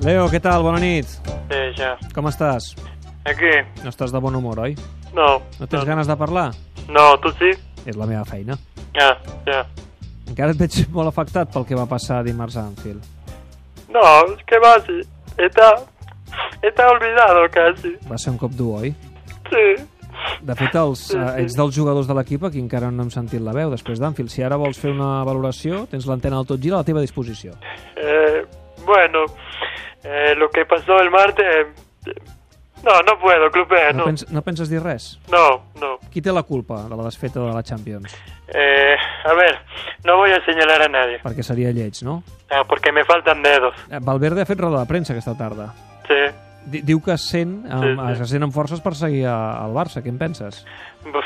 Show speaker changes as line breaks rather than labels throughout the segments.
Leo, què tal? Bona nit.
Sí, ja.
Com estàs?
Aquí.
No estàs de bon humor, oi?
No.
No tens
no.
ganes de parlar?
No, tu sí?
És la meva feina.
Ja, ja.
Encara et veig molt afectat pel que va passar dimarts a Anfield.
No, ¿qué más? Está, está olvidado casi.
Va ser un cop dur, oi?
Sí.
De fet, els, eh, ets dels jugadors de l'equip a qui encara no hem sentit la veu després d'Anfield. Si ara vols fer una valoració, tens l'antena del tot gira a la teva disposició.
Eh, bueno, eh, lo que pasó el martes... eh, No, no puedo, Club B,
No,
no.
pens, no penses dir res?
No, no.
Qui té la culpa de la desfeta de la Champions?
Eh, a ver, no voy a señalar a nadie,
Perquè seria lleig, no?
ah, porque me faltan dedos.
Eh, Valverde ha fet roda de premsa aquesta tarda.
Sí.
Di- Diu que es sent, amb,
Sí, sí.
es sent amb forces per seguir a- al Barça. Què en penses?
Buf,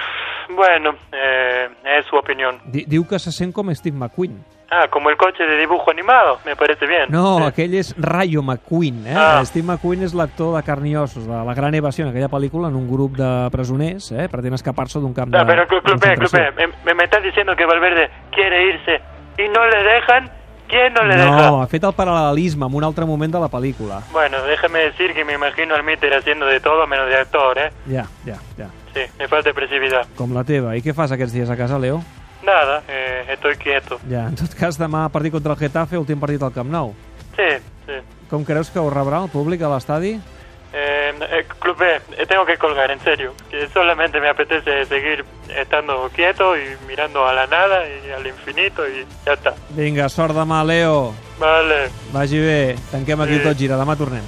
Bueno, eh, es su opinión.
Di- Diu que se sent com Steve McQueen.
Ah, como el coche de dibujo animado, me parece bien.
No,
Sí.
aquell és Rayo McQueen. Eh?
Ah.
Steve McQueen és l'actor de Carn i Ossos, de La Gran Evasió, en aquella pel·lícula, en un grup de presoners, eh? pretén escapar-se d'un camp de
No, Ah, pero Club Club B, Club
concentració.
B, me, me- me estás diciendo que Valverde quiere irse y no le dejan. ¿Quién eh, no le deja?
No, ha fet el paral·lelisme amb un altre moment de la pel·lícula.
Bueno, déjame decir que me imagino al Mitter haciendo de todo menos de actor, ¿eh?
Ja, ja, ja.
Sí, me falta expresividad.
Com la teva. I què fas aquests dies a casa, Leo?
Nada, eh, estoy quieto.
Ja, en tot cas, demà partit contra el Getafe, últim partit al Camp Nou.
Sí, sí.
Com creus que ho rebrà el públic a l'estadi?
Eh, eh, Club B, eh, tengo que colgar, en serio. Que solamente me apetece seguir estando quieto y mirando a la nada y al infinito y ya está.
Vinga, sort demà, Leo.
Vale.
Vagi bé. Tanquem aquí
Sí.
tot gira. Demà tornem.